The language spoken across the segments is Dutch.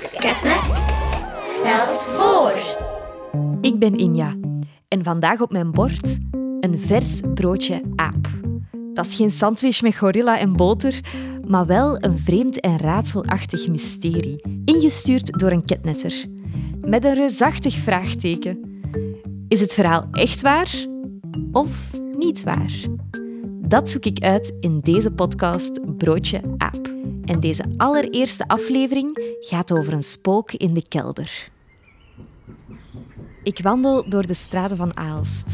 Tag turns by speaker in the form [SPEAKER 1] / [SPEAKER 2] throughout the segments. [SPEAKER 1] Rednet stelt voor.
[SPEAKER 2] Ik ben Inja en vandaag op mijn bord een vers broodje aap. Dat is geen sandwich met gorilla en boter, maar wel een vreemd en raadselachtig mysterie, ingestuurd door een ketnetter. Met een reusachtig vraagteken. Is het verhaal echt waar of niet waar? Dat zoek ik uit in deze podcast Broodje Aap. En deze allereerste aflevering gaat over een spook in de kelder. Ik wandel door de straten van Aalst.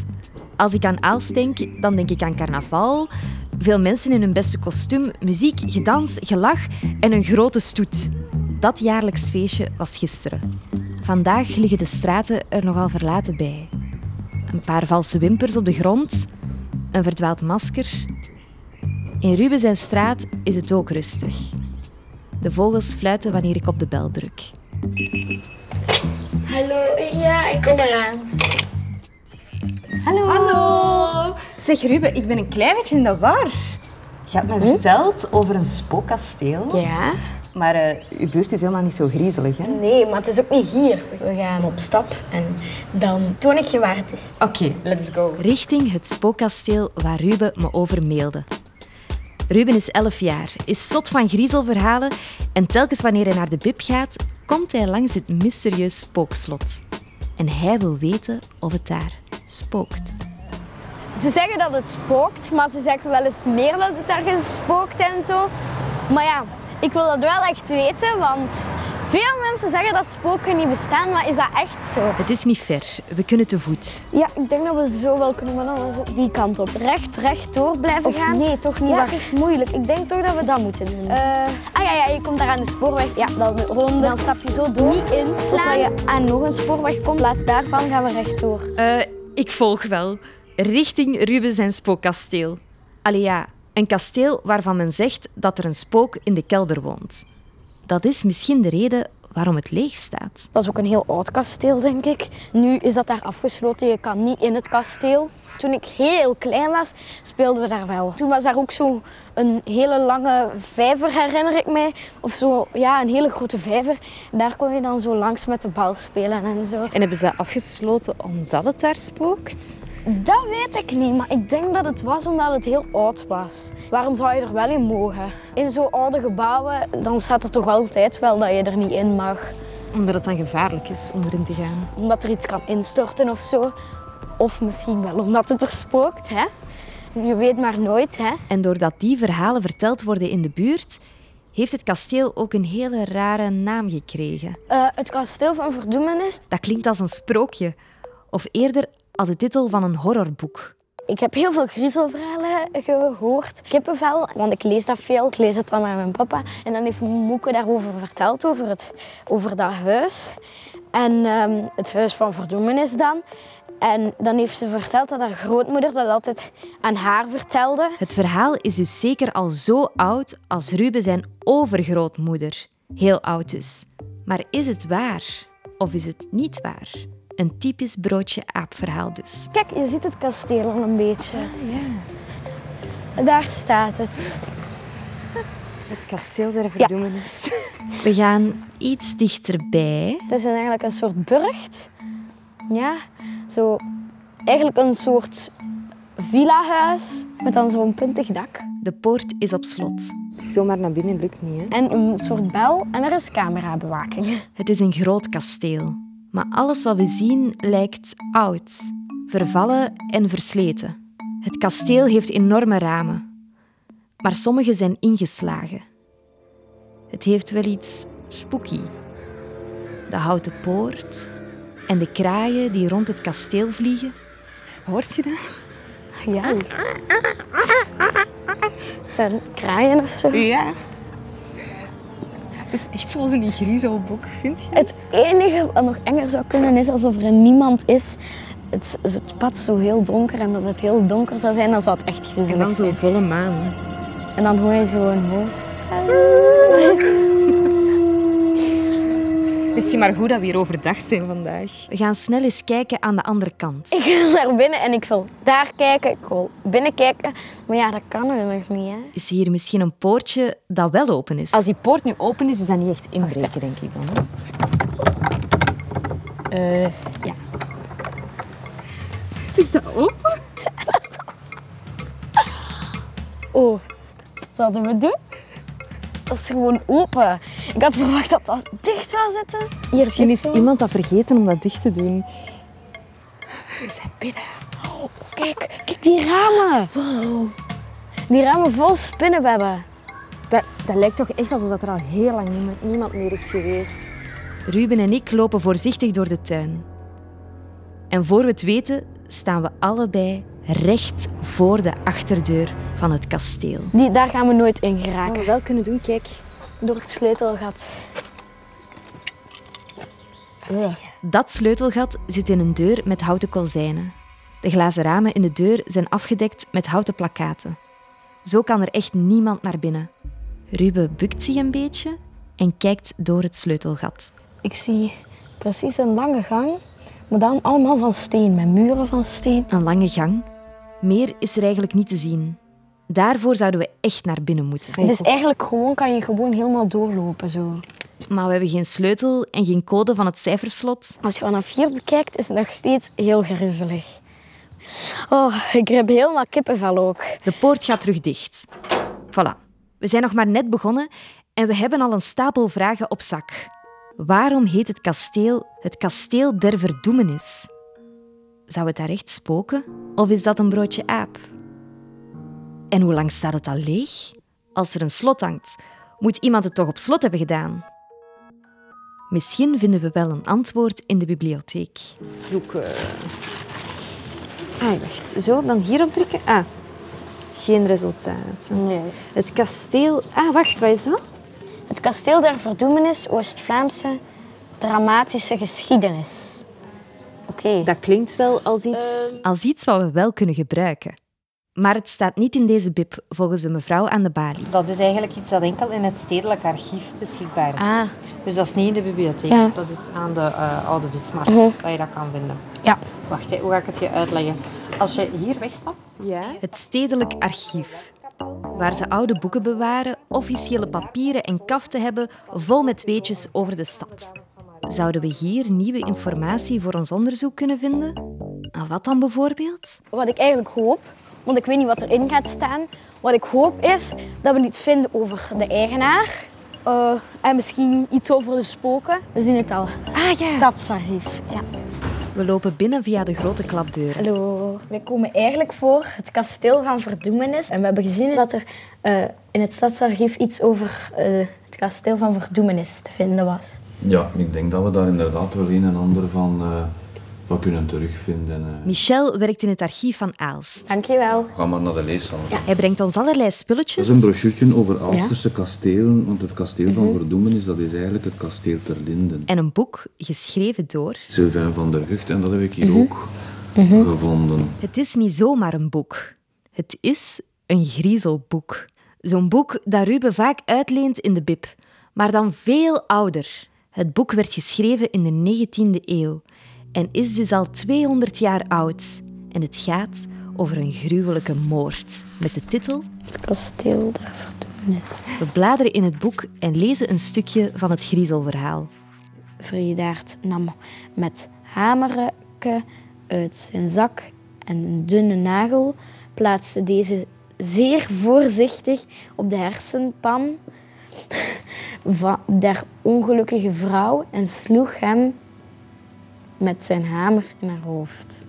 [SPEAKER 2] Als ik aan Aalst denk, dan denk ik aan carnaval, veel mensen in hun beste kostuum, muziek, gedans, gelach en een grote stoet. Dat jaarlijks feestje was gisteren. Vandaag liggen de straten er nogal verlaten bij. Een paar valse wimpers op de grond, een verdwaald masker. In Ruben zijn straat is het ook rustig. De vogels fluiten wanneer ik op de bel druk.
[SPEAKER 3] Hallo, ja, ik kom eraan.
[SPEAKER 4] Hallo. Zeg Ruben, ik ben een klein beetje in de war.
[SPEAKER 2] Je hebt me verteld over een spookkasteel.
[SPEAKER 3] Ja?
[SPEAKER 2] Maar eh, uw buurt is helemaal niet zo griezelig, hè?
[SPEAKER 3] Nee, maar het is ook niet hier. We gaan op stap en dan toon ik je waar het is.
[SPEAKER 2] Oké.
[SPEAKER 3] Let's go.
[SPEAKER 2] Richting het spookkasteel waar Ruben me over mailde. Ruben is 11 jaar, is zot van griezelverhalen en telkens wanneer hij naar de bib gaat, komt hij langs het mysterieus spookslot. En hij wil weten of het daar spookt.
[SPEAKER 4] Ze zeggen dat het spookt, maar ze zeggen wel eens meer dat het ergens spookt en zo. Maar ja, ik wil dat wel echt weten, want veel mensen zeggen dat spoken niet bestaan, maar is dat echt zo?
[SPEAKER 2] Het is niet ver, we kunnen te voet.
[SPEAKER 4] Ja, ik denk dat we zo wel kunnen, maar dan die kant op. Recht, recht door blijven gaan? Nee, toch niet. Ja, het is moeilijk. Ik denk toch dat we dat moeten doen. ah ja, ja, je komt daar aan de spoorweg. Ja, dan ronden. Dan stap je zo door. Niet inslaan. Totdat je aan nog een spoorweg komt. Laat daarvan gaan we rechtdoor.
[SPEAKER 2] Eh, ik volg wel. Richting Ruben zijn spookkasteel. Allee ja, een kasteel waarvan men zegt dat er een spook in de kelder woont. Dat is misschien de reden waarom het leeg staat.
[SPEAKER 4] Dat was ook een heel oud kasteel, denk ik. Nu is dat daar afgesloten, je kan niet in het kasteel. Toen ik heel klein was, speelden we daar wel. Toen was daar ook zo'n hele lange vijver, herinner ik mij. Of zo, ja, een hele grote vijver. Daar kon je dan zo langs met de bal spelen en zo.
[SPEAKER 5] En hebben ze dat afgesloten omdat het daar spookt?
[SPEAKER 4] Dat weet ik niet, maar ik denk dat het was omdat het heel oud was. Waarom zou je er wel in mogen? In zo'n oude gebouwen, dan staat er toch altijd wel dat je er niet in mag.
[SPEAKER 5] Omdat het dan gevaarlijk is om erin te gaan.
[SPEAKER 4] omdat er iets kan instorten of zo. Of misschien wel omdat het er spookt, hè? Je weet maar nooit, hè?
[SPEAKER 2] En doordat die verhalen verteld worden in de buurt, heeft het kasteel ook een hele rare naam gekregen.
[SPEAKER 4] Eh, het kasteel van Verdoemenis.
[SPEAKER 2] Dat klinkt als een sprookje, of eerder als de titel van een horrorboek.
[SPEAKER 4] Ik heb heel veel griezelverhalen gehoord. Kippenvel, want ik lees dat veel. Ik lees het dan met mijn papa. En dan heeft Moeke daarover verteld, over, het, over dat huis. En ehm, het huis van Verdoemenis dan. En dan heeft ze verteld dat haar grootmoeder dat altijd aan haar vertelde.
[SPEAKER 2] Het verhaal is dus zeker al zo oud als Ruben zijn overgrootmoeder. Heel oud dus. Maar is het waar of is het niet waar? Een typisch broodje aapverhaal dus.
[SPEAKER 4] Kijk, je ziet het kasteel al een beetje. Daar staat het.
[SPEAKER 5] Het kasteel der verdoemenis.
[SPEAKER 2] We gaan iets dichterbij.
[SPEAKER 4] Het is een- eigenlijk een soort burcht. Ja, zo. Eigenlijk een soort villahuis met dan zo'n puntig dak.
[SPEAKER 2] De poort is op slot.
[SPEAKER 5] Zomaar naar binnen lukt niet, hè?
[SPEAKER 4] En een soort bel en er is camerabewaking.
[SPEAKER 2] Het is een groot kasteel. Maar alles wat we zien lijkt oud, vervallen en versleten. Het kasteel heeft enorme ramen. Maar sommige zijn ingeslagen. Het heeft wel iets spooky. De houten poort en de kraaien die rond het kasteel vliegen.
[SPEAKER 5] Hoort je dat?
[SPEAKER 4] Ja. Zijn kraaien of zo.
[SPEAKER 5] Ja. Het is echt zoals in die griezelboek, vind je?
[SPEAKER 4] Het enige wat nog enger zou kunnen is alsof er niemand is. Het, is het pad zo heel donker en dat het heel donker zou zijn, dan zou het echt griezelig zijn.
[SPEAKER 5] volle maan.
[SPEAKER 4] En dan hoor je zo een hoofd.
[SPEAKER 5] Is je maar goed dat we hier overdag zijn vandaag.
[SPEAKER 2] We gaan snel eens kijken aan de andere kant.
[SPEAKER 4] Ik wil daar binnen en ik wil daar kijken, ik wil binnen kijken. Maar ja, dat kan nu nog niet, hè.
[SPEAKER 2] Is hier misschien een poortje dat wel open is?
[SPEAKER 5] Als die poort nu open is, is dat niet echt inbreken, denk ik dan. hè?
[SPEAKER 4] Eh, ja.
[SPEAKER 5] Is dat open?
[SPEAKER 4] Oh, zouden we doen? Dat is gewoon open. Ik had verwacht dat dat dicht zou zitten. Hier
[SPEAKER 5] Misschien
[SPEAKER 4] zit
[SPEAKER 5] is
[SPEAKER 4] zo-
[SPEAKER 5] iemand dat vergeten om dat dicht te doen.
[SPEAKER 4] We zijn binnen. Oh, kijk, kijk die ramen. Wow. Die ramen vol spinnenwebben.
[SPEAKER 5] Dat, dat lijkt toch echt alsof dat er al heel lang niemand, niemand meer is geweest.
[SPEAKER 2] Ruben en ik lopen voorzichtig door de tuin. En voor we het weten, staan we allebei recht voor de achterdeur van het kasteel.
[SPEAKER 4] Die, daar gaan we nooit in geraken.
[SPEAKER 5] Wat we wel kunnen doen, kijk.
[SPEAKER 4] Door het sleutelgat.
[SPEAKER 2] Dat sleutelgat zit in een deur met houten kozijnen. De glazen ramen in de deur zijn afgedekt met houten plakkaten. Zo kan er echt niemand naar binnen. Ruben bukt zich een beetje en kijkt door het sleutelgat.
[SPEAKER 4] Ik zie precies een lange gang, maar dan allemaal van steen, met muren van steen.
[SPEAKER 2] Een lange gang. Meer is er eigenlijk niet te zien. Daarvoor zouden we echt naar binnen moeten.
[SPEAKER 4] Dus eigenlijk gewoon kan je gewoon helemaal doorlopen zo.
[SPEAKER 2] Maar we hebben geen sleutel en geen code van het cijferslot.
[SPEAKER 4] Als je vanaf hier bekijkt, is het nog steeds heel griezelig. Oh, ik heb helemaal kippenvel ook.
[SPEAKER 2] De poort gaat terug dicht. Voilà. We zijn nog maar net begonnen en we hebben al een stapel vragen op zak. Waarom heet het kasteel het kasteel der verdoemenis? Zou het daar echt spoken? Of is dat een broodje aap? En hoe lang staat het al leeg? Als er een slot hangt, moet iemand het toch op slot hebben gedaan? Misschien vinden we wel een antwoord in de bibliotheek.
[SPEAKER 5] eh, Ah, wacht. Zo, dan hierop drukken. Ah, geen resultaat.
[SPEAKER 4] Nee.
[SPEAKER 5] Het kasteel... Ah, wacht, wat is dat?
[SPEAKER 4] Het kasteel der verdoemenis, Oost-Vlaamse dramatische geschiedenis. Oké.
[SPEAKER 5] Dat klinkt wel als iets...
[SPEAKER 2] als iets wat we wel kunnen gebruiken. Maar het staat niet in deze bib, volgens de mevrouw aan de balie.
[SPEAKER 6] Eh, Dat is eigenlijk iets dat enkel in het stedelijk archief beschikbaar is.
[SPEAKER 4] Ah.
[SPEAKER 6] Dus dat is niet in de bibliotheek,
[SPEAKER 4] Ja.
[SPEAKER 6] dat is aan de eh, Oude Vismarkt
[SPEAKER 5] Mhm.
[SPEAKER 6] dat je dat kan vinden.
[SPEAKER 4] Ja.
[SPEAKER 6] Wacht, hè, hoe ga ik het je uitleggen? Als je hier wegstapt,
[SPEAKER 5] Ja.
[SPEAKER 2] Het Stedelijk Archief, waar ze oude boeken bewaren, officiële papieren en kaften hebben vol met weetjes over de stad. Zouden we hier nieuwe informatie voor ons onderzoek kunnen vinden? En wat dan bijvoorbeeld?
[SPEAKER 4] Wat ik eigenlijk hoop, want ik weet niet wat erin gaat staan. Wat ik hoop is dat we iets vinden over de eigenaar. eh, en misschien iets over de spoken. We zien het al. Ah ja. Stadsarchief. Ja.
[SPEAKER 2] We lopen binnen via de grote klapdeuren.
[SPEAKER 4] Hallo. We komen eigenlijk voor het kasteel van Verdoemenis. En we hebben gezien dat er eh, in het stadsarchief iets over eh, het kasteel van Verdoemenis te vinden was.
[SPEAKER 7] Ja, ik denk dat we daar inderdaad wel een en ander van, eh, van kunnen terugvinden. eh.
[SPEAKER 2] Michel werkt in het archief van Aalst.
[SPEAKER 4] Dankjewel.
[SPEAKER 7] Ga maar naar de leeszaal.
[SPEAKER 2] Hij brengt ons allerlei
[SPEAKER 7] Dat
[SPEAKER 2] spulletjes.
[SPEAKER 7] is een brochuurtje over Alsterse kastelen, want het kasteel van Verdoemenis dat is eigenlijk het kasteel ter Linden.
[SPEAKER 2] En een boek geschreven door.
[SPEAKER 7] Sylvain van der Gucht, en dat heb ik hier ook gevonden.
[SPEAKER 2] Het is niet zomaar een boek. Het is een griezelboek. Zo'n boek dat Ruben vaak uitleent in de bib, maar dan veel ouder. Het boek werd geschreven in de 19e eeuw en is dus al 200 jaar oud. En het gaat over een gruwelijke moord. Met de titel
[SPEAKER 4] Het kasteel der Verdoemenis.
[SPEAKER 2] We bladeren in het boek en lezen een stukje van het griezelverhaal.
[SPEAKER 4] Friedaert nam met hamerken uit zijn zak en een dunne nagel, plaatste deze zeer voorzichtig op de hersenpan van der ongelukkige vrouw en sloeg hem met zijn hamer in haar hoofd.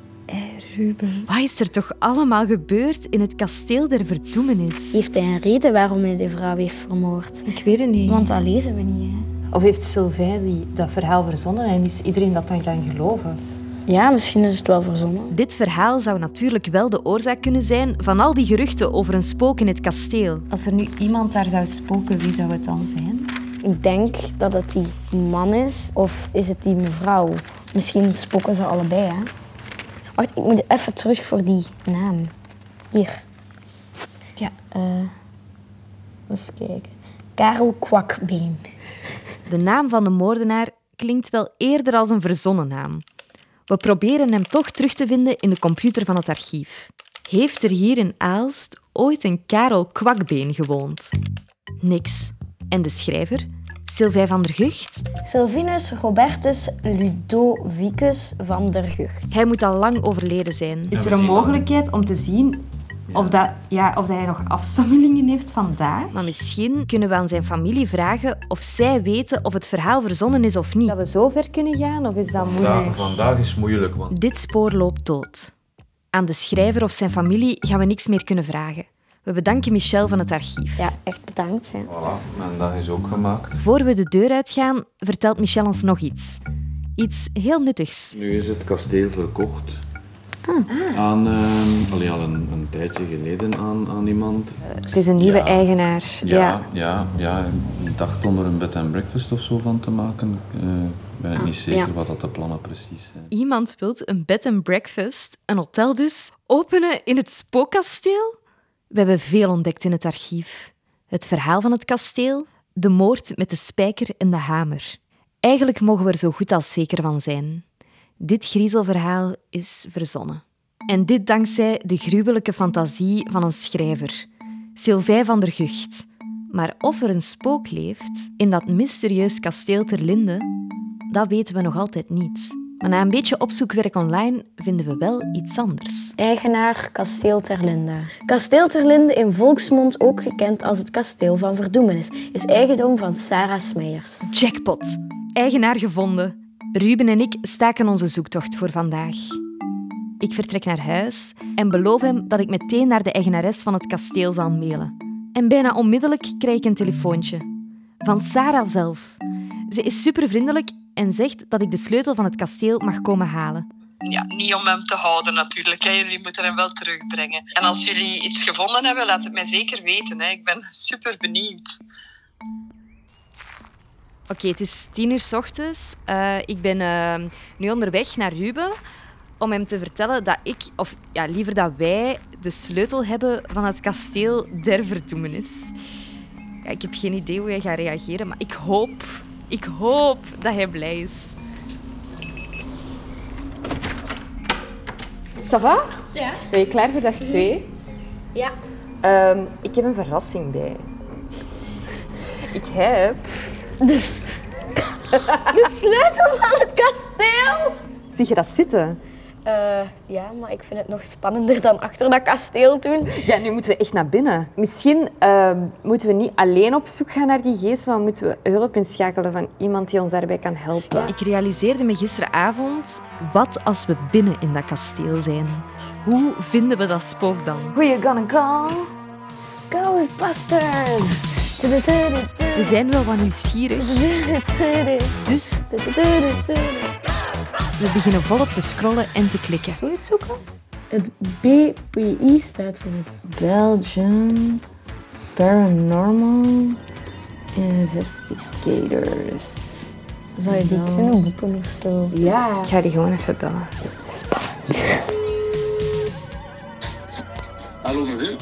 [SPEAKER 2] Wat is er toch allemaal gebeurd in het kasteel der verdoemenis?
[SPEAKER 4] Heeft hij een reden waarom hij de vrouw heeft vermoord?
[SPEAKER 5] Ik weet het niet.
[SPEAKER 4] Want dat lezen we niet. Hè?
[SPEAKER 6] of heeft Sylvain die, dat verhaal verzonnen en is iedereen dat dan gaan geloven?
[SPEAKER 4] Ja, misschien is het wel verzonnen.
[SPEAKER 2] Dit verhaal zou natuurlijk wel de oorzaak kunnen zijn van al die geruchten over een spook in het kasteel.
[SPEAKER 6] Als er nu iemand daar zou spoken, wie zou het dan zijn?
[SPEAKER 4] Ik denk dat het die man is, of is het die mevrouw? Misschien spoken ze allebei, hè? Wacht, ik moet even terug voor die naam. Hier.
[SPEAKER 6] Ja.
[SPEAKER 4] Eh, eens kijken. Karel Kwakbeen.
[SPEAKER 2] De naam van de moordenaar klinkt wel eerder als een verzonnen naam. We proberen hem toch terug te vinden in de computer van het archief. Heeft er hier in Aalst ooit een Karel Kwakbeen gewoond? Niks. En de schrijver? Sylvia van der Gucht.
[SPEAKER 4] Sylvinus Robertus Ludovicus van der Gucht.
[SPEAKER 2] Hij moet al lang overleden zijn.
[SPEAKER 6] Is er een mogelijkheid om te zien of, dat, ja, of dat hij nog afstammelingen heeft vandaag?
[SPEAKER 2] Maar misschien kunnen we aan zijn familie vragen of zij weten of het verhaal verzonnen is of niet.
[SPEAKER 6] Dat we zo ver kunnen gaan, of is dat
[SPEAKER 8] Ja,
[SPEAKER 6] moeilijk?
[SPEAKER 8] vandaag is moeilijk, want
[SPEAKER 2] Dit spoor loopt dood. Aan de schrijver of zijn familie gaan we niks meer kunnen vragen. We bedanken Michel van het archief.
[SPEAKER 4] Ja, echt bedankt. Hè.
[SPEAKER 8] voilà, mijn dag is ook gemaakt.
[SPEAKER 2] Voor we de deur uitgaan, vertelt Michel ons nog iets. Iets heel nuttigs.
[SPEAKER 7] Nu is het kasteel verkocht. Aan, ehm, allee, al een, een tijdje geleden aan, aan iemand.
[SPEAKER 2] Het is een nieuwe
[SPEAKER 7] Ja.
[SPEAKER 2] eigenaar.
[SPEAKER 7] Ja, ja, ja. Ik dacht om er een bed and breakfast of zo van te maken. Ik eh, ben het niet zeker wat dat de plannen precies zijn.
[SPEAKER 2] Iemand wil een bed and breakfast, een hotel dus, openen in het spookkasteel? We hebben veel ontdekt in het archief. Het verhaal van het kasteel, de moord met de spijker en de hamer. Eigenlijk mogen we er zo goed als zeker van zijn. Dit griezelverhaal is verzonnen. En dit dankzij de gruwelijke fantasie van een schrijver, Sylvijn van der Gucht. Maar of er een spook leeft in dat mysterieus kasteel ter Linde, dat weten we nog altijd niet. Maar na een beetje opzoekwerk online vinden we wel iets anders.
[SPEAKER 4] Eigenaar Kasteel Terlinde. Kasteel Terlinde, in volksmond ook gekend als het Kasteel van Verdoemenis, is eigendom van Sarah Smeijers.
[SPEAKER 2] Jackpot. Eigenaar gevonden. Ruben en ik staken onze zoektocht voor vandaag. Ik vertrek naar huis en beloof hem dat ik meteen naar de eigenares van het kasteel zal mailen. En bijna onmiddellijk krijg ik een telefoontje. Van Sarah zelf. Ze is supervriendelijk en zegt dat ik de sleutel van het kasteel mag komen halen.
[SPEAKER 9] ja, niet om hem te houden natuurlijk. Hè. Jullie moeten hem wel terugbrengen. En als jullie iets gevonden hebben, laat het mij zeker weten. Hè. Ik ben super benieuwd.
[SPEAKER 2] Oké, het is tien uur 's ochtends. Eh, ik ben eh, nu onderweg naar Ruben om hem te vertellen dat ik, of ja, liever dat wij, de sleutel hebben van het kasteel der verdoemenis. Ja, ik heb geen idee hoe hij gaat reageren, maar ik hoop, ik hoop dat hij blij is.
[SPEAKER 5] Ça va? Ja. Ben je klaar voor dag 2?
[SPEAKER 3] Ja.
[SPEAKER 5] Ehm, ik heb een verrassing bij. Ik heb...
[SPEAKER 4] De sleutel van het kasteel! Eh,
[SPEAKER 5] Zie je dat zitten?
[SPEAKER 4] ja, maar ik vind het nog spannender dan achter dat kasteel toen.
[SPEAKER 5] Ja, nu moeten we echt naar binnen. Misschien ehm, moeten we niet alleen op zoek gaan naar die geest, maar moeten we hulp inschakelen van iemand die ons daarbij kan helpen.
[SPEAKER 2] Ik realiseerde me gisteravond, wat als we binnen in dat kasteel zijn? Hoe vinden we dat spook dan?
[SPEAKER 5] Who you gonna go?
[SPEAKER 4] Ghostbusters! Tudu-tudu,
[SPEAKER 2] We zijn wel wat nieuwsgierig.
[SPEAKER 4] tudu,
[SPEAKER 2] Dus
[SPEAKER 4] tudu-tudu, tudu.
[SPEAKER 2] we beginnen volop te scrollen en te klikken.
[SPEAKER 4] Het BPI staat voor Belgium Paranormal Investigators. Zou je die kunnen boeken of zo?
[SPEAKER 6] Ik ga die gewoon even bellen.
[SPEAKER 10] Hallo meneer.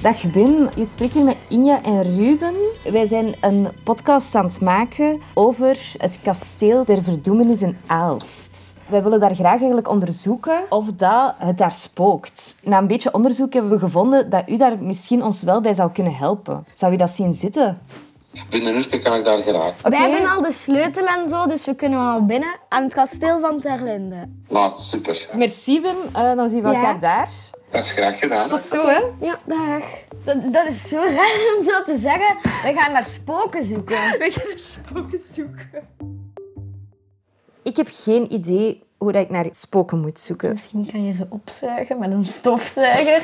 [SPEAKER 6] Dag Wim, je spreekt hier met Inja en Ruben. Wij zijn een podcast aan het maken over het kasteel der verdoemenis in Aalst. Wij willen daar graag eigenlijk onderzoeken of dat het daar spookt. Na een beetje onderzoek hebben we gevonden dat u daar misschien ons wel bij zou kunnen helpen. Zou u dat zien zitten?
[SPEAKER 10] Binnen een uurtje kan ik daar geraken.
[SPEAKER 4] Wij hebben al de sleutel en zo, dus we kunnen al binnen aan het kasteel van Terlinde.
[SPEAKER 10] Laat, super.
[SPEAKER 6] Merci Wim, Eh, dan zien we
[SPEAKER 4] Ja.
[SPEAKER 6] elkaar daar.
[SPEAKER 10] Dat is graag gedaan.
[SPEAKER 6] Tot zo hè.
[SPEAKER 4] Ja, dag. Dat, dat is zo raar om zo te zeggen. We gaan naar spoken zoeken.
[SPEAKER 6] Ik heb geen idee hoe dat ik naar spoken moet zoeken.
[SPEAKER 4] Misschien kan je ze opzuigen met een stofzuiger.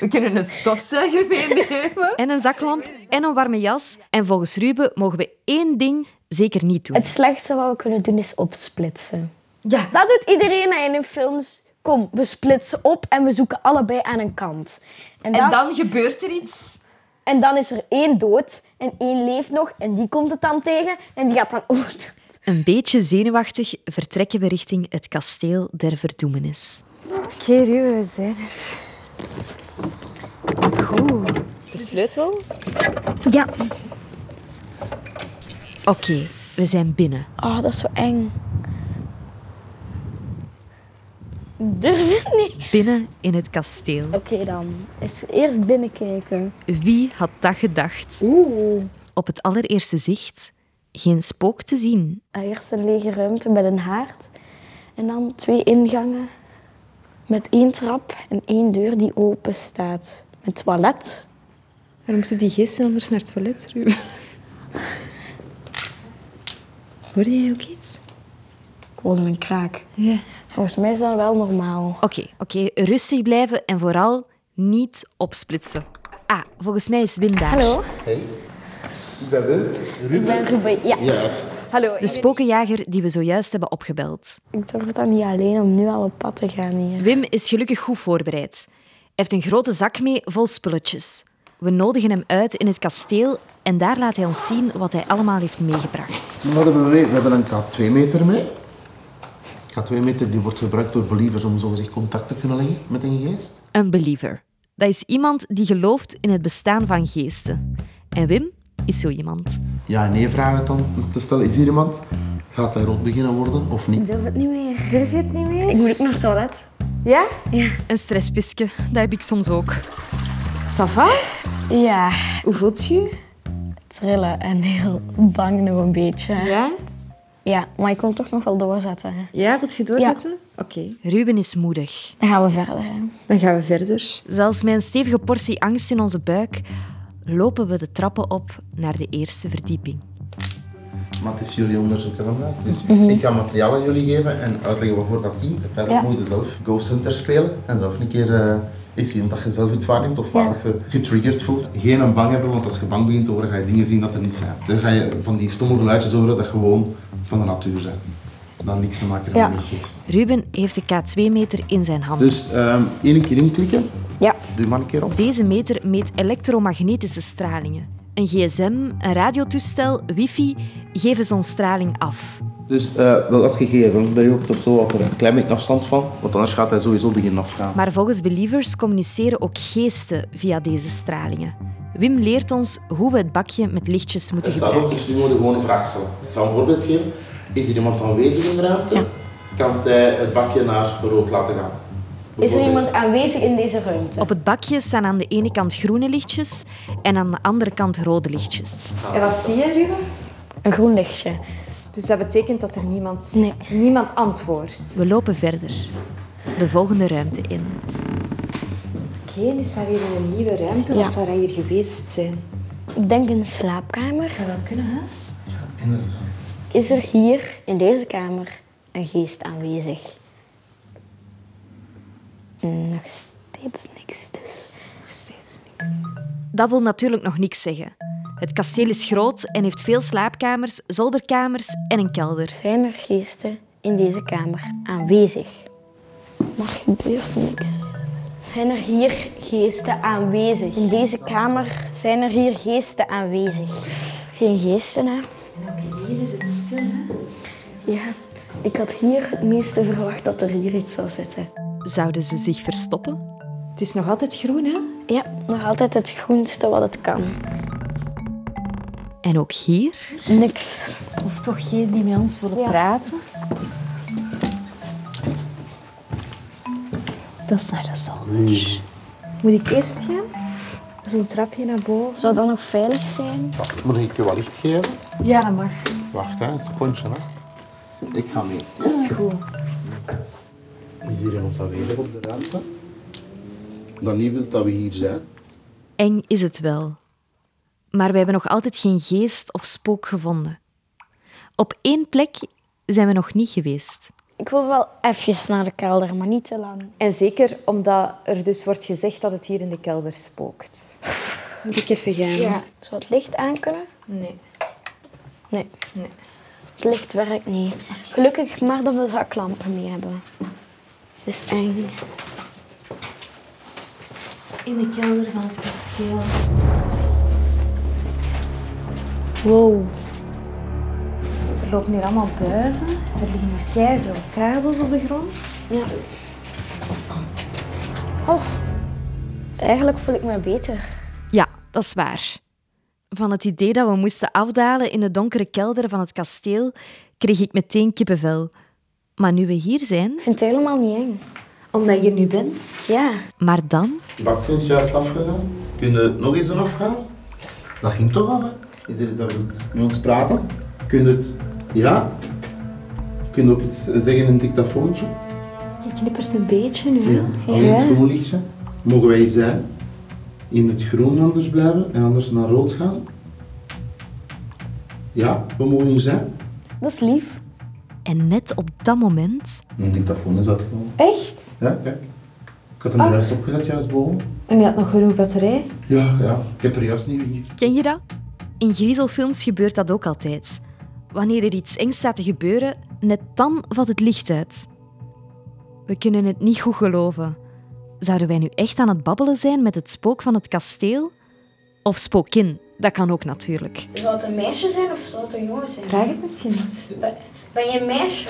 [SPEAKER 6] We kunnen een stofzuiger meenemen.
[SPEAKER 2] en een zaklamp en een warme jas. En volgens Ruben mogen we één ding zeker niet doen.
[SPEAKER 4] Het slechtste wat we kunnen doen is opsplitsen.
[SPEAKER 6] Ja.
[SPEAKER 4] Dat doet iedereen in hun films. Kom, we splitsen op en we zoeken allebei aan een kant. En dan, en dan...
[SPEAKER 6] gebeurt er iets.
[SPEAKER 4] is er één dood en één leeft nog en die komt het dan tegen en die gaat dan ook dood.
[SPEAKER 2] Een beetje zenuwachtig vertrekken we richting het kasteel der verdoemenis.
[SPEAKER 6] Oké, Ruwe, we zijn er. Goed. De sleutel?
[SPEAKER 4] Ja.
[SPEAKER 2] Oké, we zijn binnen.
[SPEAKER 4] Oh, dat is zo eng. Durf het niet.
[SPEAKER 2] Binnen in het kasteel.
[SPEAKER 4] Oké dan, is eerst binnenkijken.
[SPEAKER 2] Wie had dat gedacht?
[SPEAKER 4] Oeh.
[SPEAKER 2] op het allereerste zicht geen spook te zien.
[SPEAKER 4] Eerst een lege ruimte met een haard. En dan twee ingangen. Met één trap en één deur die open staat. Een toilet.
[SPEAKER 5] Waarom moeten die geesten anders naar het toilet, Ruben? Hoorde jij ook iets?
[SPEAKER 4] Ik hoorde een kraak.
[SPEAKER 5] Ja.
[SPEAKER 4] Volgens mij is dat wel normaal.
[SPEAKER 2] Oké, oké, rustig blijven en vooral niet opsplitsen. Ah, volgens mij is Wim daar.
[SPEAKER 4] Hallo.
[SPEAKER 11] Hey, ik ben Wim. Ruben.
[SPEAKER 4] Ik ben Ruben, ja.
[SPEAKER 11] Juist.
[SPEAKER 2] Hallo, de spokenjager die we zojuist hebben opgebeld.
[SPEAKER 4] Ik durf dan niet alleen om nu al op pad te gaan hier.
[SPEAKER 2] Wim is gelukkig goed voorbereid. Hij heeft een grote zak mee vol spulletjes. We nodigen hem uit in het kasteel en daar laat hij ons zien wat hij allemaal heeft meegebracht.
[SPEAKER 11] Wat hebben we mee? We hebben een K2-meter mee. K2-meter die wordt gebruikt door believers om zogezegd contact te kunnen leggen met een geest.
[SPEAKER 2] Een believer. Dat is iemand die gelooft in het bestaan van geesten. En Wim is zo iemand.
[SPEAKER 11] Ja en nee vragen dan te stellen. Is hier iemand? Gaat hij rond beginnen worden of niet?
[SPEAKER 4] durf het niet meer.
[SPEAKER 5] Durf je het niet meer?
[SPEAKER 4] Ik moet ook naar het toilet.
[SPEAKER 5] Ja?
[SPEAKER 4] Ja.
[SPEAKER 2] Een stresspiske, dat heb ik soms ook.
[SPEAKER 5] Sava?
[SPEAKER 4] Ja.
[SPEAKER 5] Hoe voelt je?
[SPEAKER 4] Trillen en heel bang nog een beetje.
[SPEAKER 5] Ja?
[SPEAKER 4] Ja, maar ik wil toch nog wel doorzetten.
[SPEAKER 5] Ja, wilt je doorzetten? Oké.
[SPEAKER 2] Ruben is moedig.
[SPEAKER 4] Dan gaan we verder. hè.
[SPEAKER 5] Dan gaan we verder.
[SPEAKER 2] Zelfs met een stevige portie angst in onze buik lopen we de trappen op naar de eerste verdieping.
[SPEAKER 11] Maar het is jullie onderzoek hè, vandaag. Dus ik ga materiaal aan jullie geven en uitleggen waarvoor dat dient. En Verder
[SPEAKER 4] Mhm. Ja.
[SPEAKER 11] moet je zelf Ghost Hunter spelen en zelf een keer eh, eens zien dat je zelf iets waarneemt of waar
[SPEAKER 4] Ja.
[SPEAKER 11] je getriggerd voelt. Geen een bang hebben, want als je bang begint te worden, ga je dingen zien dat er niet zijn. Dan ga je van die stomme geluidjes horen dat gewoon van de natuur zijn. Dan niks te maken hebben
[SPEAKER 2] Ja.
[SPEAKER 11] met geest.
[SPEAKER 2] Ruben heeft de K2-meter in zijn handen.
[SPEAKER 11] Dus ehm één keer inklikken.
[SPEAKER 4] Ja.
[SPEAKER 11] Doe maar een keer op.
[SPEAKER 2] Deze meter meet elektromagnetische stralingen. Een gsm, een radiotoestel, wifi geven zo'n straling af.
[SPEAKER 11] Dus eh, wel, als je gsm bij je hebt of zo, had er een klein beetje afstand van, want anders gaat hij sowieso beginnen afgaan.
[SPEAKER 2] Maar volgens believers communiceren ook geesten via deze stralingen. Wim leert ons hoe we het bakje met lichtjes moeten
[SPEAKER 11] Er staat ook,
[SPEAKER 2] gebruiken.
[SPEAKER 11] dus nu moet je gewoon een vraag stellen. Ik ga een voorbeeld geven. Is er iemand aanwezig in de ruimte? Kan hij het bakje naar rood laten gaan?
[SPEAKER 4] Is er
[SPEAKER 11] Bijvoorbeeld.
[SPEAKER 4] iemand aanwezig in deze ruimte?
[SPEAKER 2] Op het bakje staan aan de ene kant groene lichtjes en aan de andere kant rode lichtjes.
[SPEAKER 5] En wat zie je, Ruben?
[SPEAKER 4] Een groen lichtje.
[SPEAKER 5] Dus dat betekent dat er niemand,
[SPEAKER 4] Nee.
[SPEAKER 5] niemand antwoordt.
[SPEAKER 2] We lopen verder, de volgende ruimte in.
[SPEAKER 5] Oké, nu staan we hier in een nieuwe ruimte.
[SPEAKER 4] Ja.
[SPEAKER 5] Wat zou dat hier geweest zijn?
[SPEAKER 4] Ik denk een slaapkamer.
[SPEAKER 5] Dat zou kunnen, hè?
[SPEAKER 4] Is er hier in deze kamer een geest aanwezig? Mm, Nog steeds niks dus.
[SPEAKER 5] Nog steeds niet.
[SPEAKER 2] Dat wil natuurlijk nog niks zeggen. Het kasteel is groot en heeft veel slaapkamers, zolderkamers en een kelder.
[SPEAKER 4] Zijn er geesten in deze kamer aanwezig? Maar gebeurt niks. Zijn er hier geesten aanwezig? In deze kamer zijn er hier geesten aanwezig. Geen geesten, hè?
[SPEAKER 5] En ook hier is het stil, hè?
[SPEAKER 4] Ja. Ik had hier het meeste verwacht dat er hier iets zou zitten.
[SPEAKER 2] Zouden ze zich verstoppen?
[SPEAKER 5] Het is nog altijd groen, hè?
[SPEAKER 4] Ja, nog altijd het groenste wat het kan.
[SPEAKER 2] En ook hier?
[SPEAKER 4] Niks.
[SPEAKER 5] Of toch geen die met ons willen praten? Dat is naar de zon. Moet ik eerst gaan?
[SPEAKER 4] Zo'n trapje naar boven. Zou dat nog veilig zijn?
[SPEAKER 11] Wacht, moet ik je wel licht geven?
[SPEAKER 5] Ja, dat mag.
[SPEAKER 11] Wacht, hè, het is een kontje, hè. Ik ga mee.
[SPEAKER 5] Dat is goed.
[SPEAKER 11] Is hier iemand aanwezig op de ruimte? Dan niet wil dat we hier zijn.
[SPEAKER 2] Eng is het wel. Maar we hebben nog altijd geen geest of spook gevonden. Op één plek zijn we nog niet geweest.
[SPEAKER 4] Ik wil wel even naar de kelder, maar niet te lang.
[SPEAKER 5] En zeker omdat er dus wordt gezegd dat het hier in de kelder spookt. Moet ik even gaan?
[SPEAKER 4] Zou het licht aan kunnen?
[SPEAKER 5] Nee.
[SPEAKER 4] Nee.
[SPEAKER 5] Nee.
[SPEAKER 4] Het licht werkt niet. Gelukkig maar dat we zaklampen mee hebben. Het is eng.
[SPEAKER 5] In de kelder van het kasteel.
[SPEAKER 4] Wow.
[SPEAKER 5] Er lopen hier allemaal buizen. Er liggen hier keiveel kabels op de grond.
[SPEAKER 4] Ja. Oh. Eigenlijk voel ik me beter.
[SPEAKER 2] Ja, dat is waar. Van het idee dat we moesten afdalen in de donkere kelder van het kasteel kreeg ik meteen kippenvel. Maar nu we hier zijn,
[SPEAKER 4] Ik vind het helemaal niet eng.
[SPEAKER 5] Omdat je nu bent.
[SPEAKER 4] Ja.
[SPEAKER 2] maar dan?
[SPEAKER 11] Het bakje is juist afgegaan. Kun je het nog eens doen afgaan? Dat ging toch af, hè? Is er iets dat wilt met ons praten? Kun je het... Ja? Kun je ook iets zeggen in een dictafoontje?
[SPEAKER 2] Je knippert een beetje nu.
[SPEAKER 11] Ja. Alleen het groen lichtje. Mogen wij hier zijn? In het groen anders blijven en anders naar rood gaan? Ja, we mogen hier zijn.
[SPEAKER 4] Dat is lief.
[SPEAKER 2] En net op dat moment...
[SPEAKER 11] Een dictafoon is uitgekomen.
[SPEAKER 6] Echt?
[SPEAKER 11] Ja, kijk. Ik
[SPEAKER 2] Ah.
[SPEAKER 11] had hem er juist opgezet, juist boven.
[SPEAKER 6] En je had nog genoeg batterij?
[SPEAKER 11] Ja, ja. Ik heb er juist niet in gezien.
[SPEAKER 2] Ken je dat? In griezelfilms gebeurt dat ook altijd. Wanneer er iets engs staat te gebeuren, net dan valt het licht uit. We kunnen het niet goed geloven. Zouden wij nu echt aan het babbelen zijn met het spook van het kasteel? Of spookin, dat kan ook natuurlijk.
[SPEAKER 3] Zou het een meisje zijn of zou het een jongen zijn?
[SPEAKER 6] Vraag het misschien eens.
[SPEAKER 3] Ben- Ben je een meisje?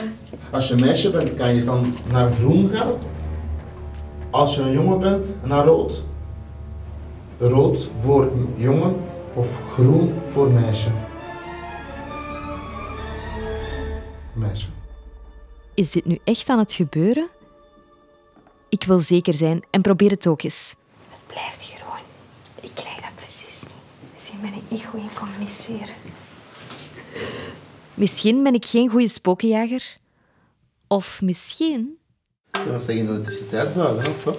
[SPEAKER 11] Als je een meisje bent, kan je dan naar groen gaan. Als je een jongen bent, naar rood. Rood voor m- jongen of groen voor meisje. Meisje.
[SPEAKER 2] Is dit nu echt aan het gebeuren? Ik wil zeker zijn en probeer het ook eens.
[SPEAKER 6] Het blijft gewoon. Ik krijg dat precies niet. Misschien ben ik niet goed in communiceren.
[SPEAKER 2] Misschien ben ik geen goede spokenjager. Of misschien...
[SPEAKER 11] Ja, wat zeggen elektriciteit buiten, of wat?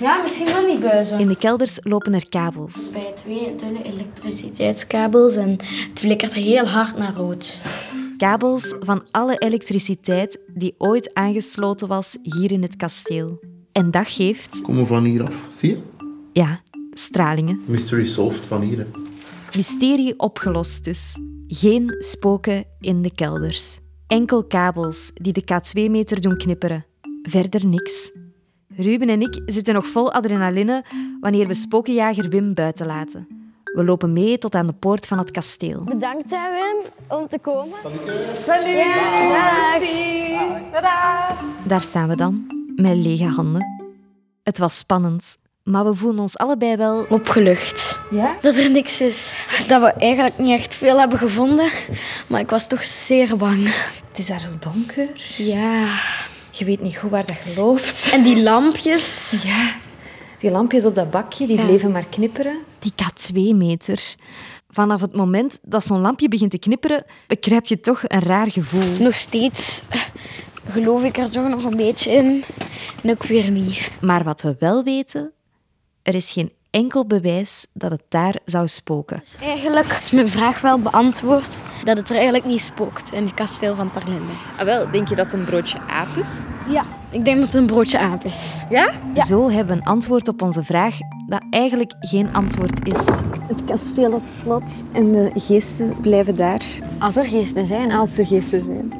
[SPEAKER 3] Ja, misschien wel niet buizen.
[SPEAKER 2] In de kelders lopen er kabels.
[SPEAKER 3] Bij twee dunne elektriciteitskabels en het flikkert heel hard naar rood.
[SPEAKER 2] Kabels van alle elektriciteit die ooit aangesloten was hier in het kasteel. En dat geeft,
[SPEAKER 11] Komen van hier af. Zie je?
[SPEAKER 2] ja, stralingen.
[SPEAKER 11] Mystery solved van hier. hè.
[SPEAKER 2] Mysterie opgelost dus. Geen spoken in de kelders. Enkel kabels die de K2-meter doen knipperen. Verder niks. Ruben en ik zitten nog vol adrenaline wanneer we spokenjager Wim buiten laten. We lopen mee tot aan de poort van het kasteel.
[SPEAKER 4] Bedankt, hè, Wim, om te komen.
[SPEAKER 6] Salut!
[SPEAKER 4] Dag.
[SPEAKER 2] Daar staan we dan, met lege handen. Het was spannend, maar we voelen ons allebei wel
[SPEAKER 4] opgelucht.
[SPEAKER 6] Ja?
[SPEAKER 4] Dat er niks is. Dat we eigenlijk niet echt veel hebben gevonden, maar ik was toch zeer bang.
[SPEAKER 6] Het is daar zo donker.
[SPEAKER 4] Ja.
[SPEAKER 6] Je weet niet goed waar dat je loopt.
[SPEAKER 4] En die lampjes.
[SPEAKER 6] Ja. Die lampjes op dat bakje, die bleven maar knipperen.
[SPEAKER 2] die K2-meter. Vanaf het moment dat zo'n lampje begint te knipperen, bekruip je toch een raar gevoel.
[SPEAKER 4] Nog steeds eh, geloof ik er toch nog een beetje in. En ook weer niet.
[SPEAKER 2] Maar wat we wel weten, er is geen enkel bewijs dat het daar zou spoken.
[SPEAKER 4] Dus eigenlijk is mijn vraag wel beantwoord dat het er eigenlijk niet spookt in het kasteel van Terlinde.
[SPEAKER 2] Ah, wel, denk je dat een broodje aap is?
[SPEAKER 4] Ja, ik denk dat het een broodje aap is.
[SPEAKER 2] Zo hebben we een antwoord op onze vraag dat eigenlijk geen antwoord is.
[SPEAKER 5] Het kasteel op slot en de geesten blijven daar
[SPEAKER 4] Als er geesten zijn.
[SPEAKER 5] als de geesten zijn.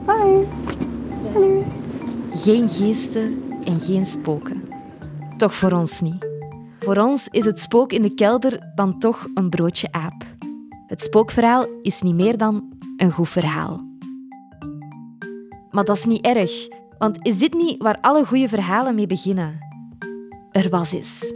[SPEAKER 2] Geen geesten en geen spoken. Toch voor ons niet. Voor ons is het spook in de kelder dan toch een broodje aap. Het spookverhaal is niet meer dan een goed verhaal. Maar dat is niet erg, want is dit niet waar alle goede verhalen mee beginnen? Er was eens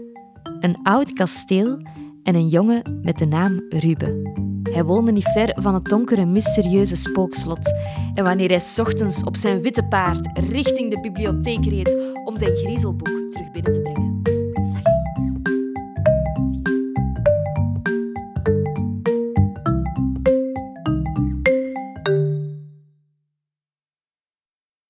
[SPEAKER 2] een oud kasteel en een jongen met de naam Ruben. Hij woonde niet ver van het donkere, mysterieuze spookslot. En wanneer hij 's ochtends op zijn witte paard richting de bibliotheek reed om zijn griezelboek